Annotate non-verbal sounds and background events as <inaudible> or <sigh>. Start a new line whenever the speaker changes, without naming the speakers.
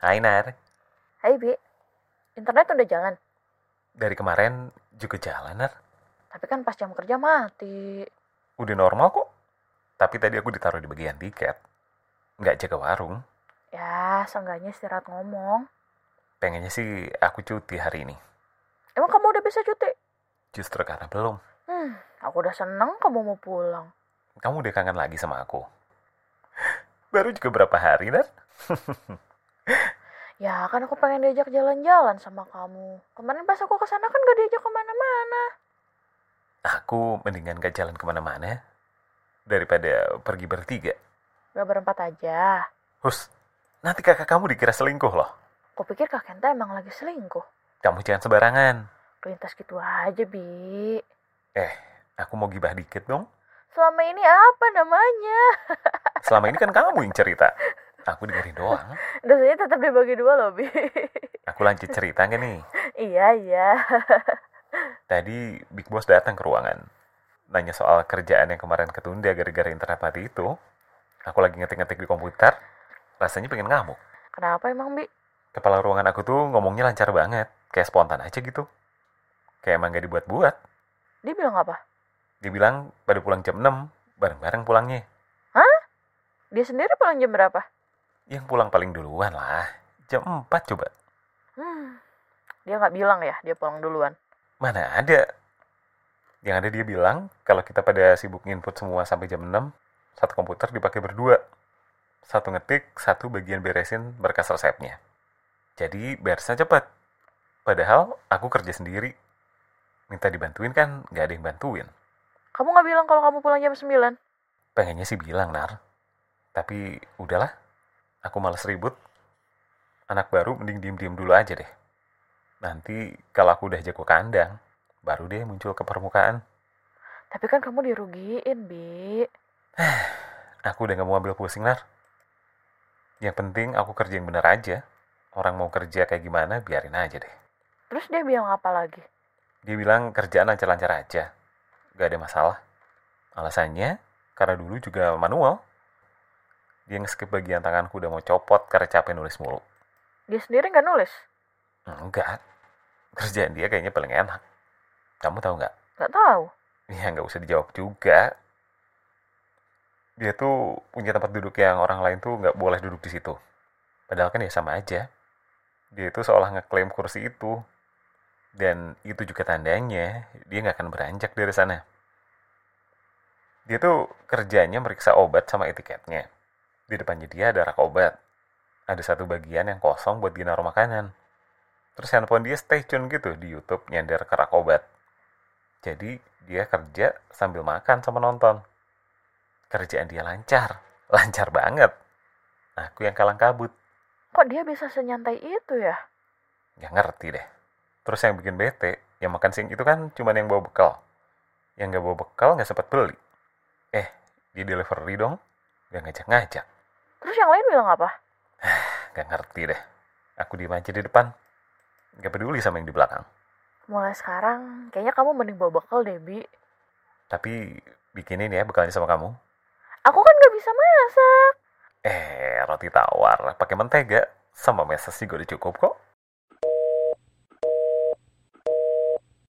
Hainar,
Hai Bi, internet udah jalan.
dari kemarin juga jalan, Nar.
Tapi kan pas jam kerja mati.
Udah normal kok. Tapi tadi aku ditaruh di bagian tiket. Nggak jaga warung.
Ya, seenggaknya istirahat ngomong.
Pengennya sih aku cuti hari ini.
Emang kamu udah bisa cuti?
Justru karena belum.
Hmm, aku udah seneng kamu mau pulang.
Kamu udah kangen lagi sama aku. <laughs> Baru juga berapa hari, Nar?
Ya, kan aku pengen diajak jalan-jalan sama kamu. Kemarin pas aku kesana kan gak diajak kemana-mana.
Aku mendingan gak jalan kemana-mana. Daripada pergi bertiga.
Gak berempat aja.
Hus, nanti kakak kamu dikira selingkuh loh.
Aku pikir Kak Kenta emang lagi selingkuh.
Kamu jangan sembarangan.
Lintas gitu aja, Bi.
Aku mau gibah dikit dong.
Selama ini apa namanya?
Selama ini kan kamu yang cerita. Aku dengerin doang.
Dosanya tetap dibagi dua loh, Bi. <laughs>
Aku lanjut cerita nggak nih?
iya, iya.
Tadi Big Boss datang ke ruangan. Nanya soal kerjaan yang kemarin ketunda gara-gara internet mati itu. Aku lagi ngetik-ngetik di komputer. Rasanya pengen ngamuk.
Kenapa emang, Bi?
Kepala ruangan aku tuh ngomongnya lancar banget. Kayak spontan aja gitu. Kayak emang gak dibuat-buat.
Dia bilang apa?
Dibilang pada pulang jam 6. Bareng-bareng pulangnya.
Dia sendiri pulang jam berapa?
Yang pulang paling duluan lah. Jam 4 coba.
Hmm, <sighs> dia nggak bilang ya dia pulang duluan.
Mana ada? Yang ada dia bilang, kalau kita pada sibuk input semua sampai jam 6, satu komputer dipakai berdua. Satu ngetik, satu bagian beresin berkas resepnya. Jadi beresnya cepat. Padahal aku kerja sendiri. Minta dibantuin kan nggak ada yang bantuin.
Kamu nggak bilang kalau kamu pulang jam 9?
Pengennya sih bilang, Nar. Tapi udahlah, aku males ribut. Anak baru mending diem-diem dulu aja deh. Nanti kalau aku udah jago kandang, baru deh muncul ke permukaan.
Tapi kan kamu dirugiin, Bi.
Aku udah gak mau ambil pusing, Nar. Yang penting aku kerja yang bener aja. Orang mau kerja kayak gimana, biarin aja deh.
Terus dia bilang apa lagi?
Dia bilang kerjaan lancar-lancar aja. Gak ada masalah. Alasannya, karena dulu juga manual. Dia nge-skip bagian tanganku udah mau copot karena capek nulis mulu.
Dia sendiri nggak nulis?
Enggak. Kerjaan dia kayaknya paling enak. Kamu tahu nggak?
Nggak tahu.
Ya nggak usah dijawab juga. Dia tuh punya tempat duduk yang orang lain tuh nggak boleh duduk di situ. Padahal kan ya sama aja. Dia itu seolah ngeklaim kursi itu. Dan itu juga tandanya dia nggak akan beranjak dari sana. Dia tuh kerjanya meriksa obat sama etiketnya. Di depannya dia ada rak obat. Ada satu bagian yang kosong buat dia naruh makanan. Terus handphone dia stay tune gitu di YouTube nyender ke rak obat. Jadi dia kerja sambil makan sama nonton. Kerjaan dia lancar, <laughs> lancar banget. Aku yang kalang kabut,
Kok dia bisa senyantai itu ya?
nggak ngerti deh. Terus yang bikin bete, yang makan siang itu kan cuman yang bawa bekal. Yang nggak bawa bekal nggak sempat beli. Eh, dia delivery dong, nggak ngajak-ngajak,
Terus yang lain bilang apa?
nggak ngerti deh. Aku diem aja di depan, nggak peduli sama yang di belakang.
Mulai sekarang, kayaknya kamu mending bawa bekal deh, Bi.
Tapi bikinin ya bekalnya sama kamu.
Aku kan nggak bisa masak.
Eh, roti tawar pakai mentega sama meses juga udah cukup kok.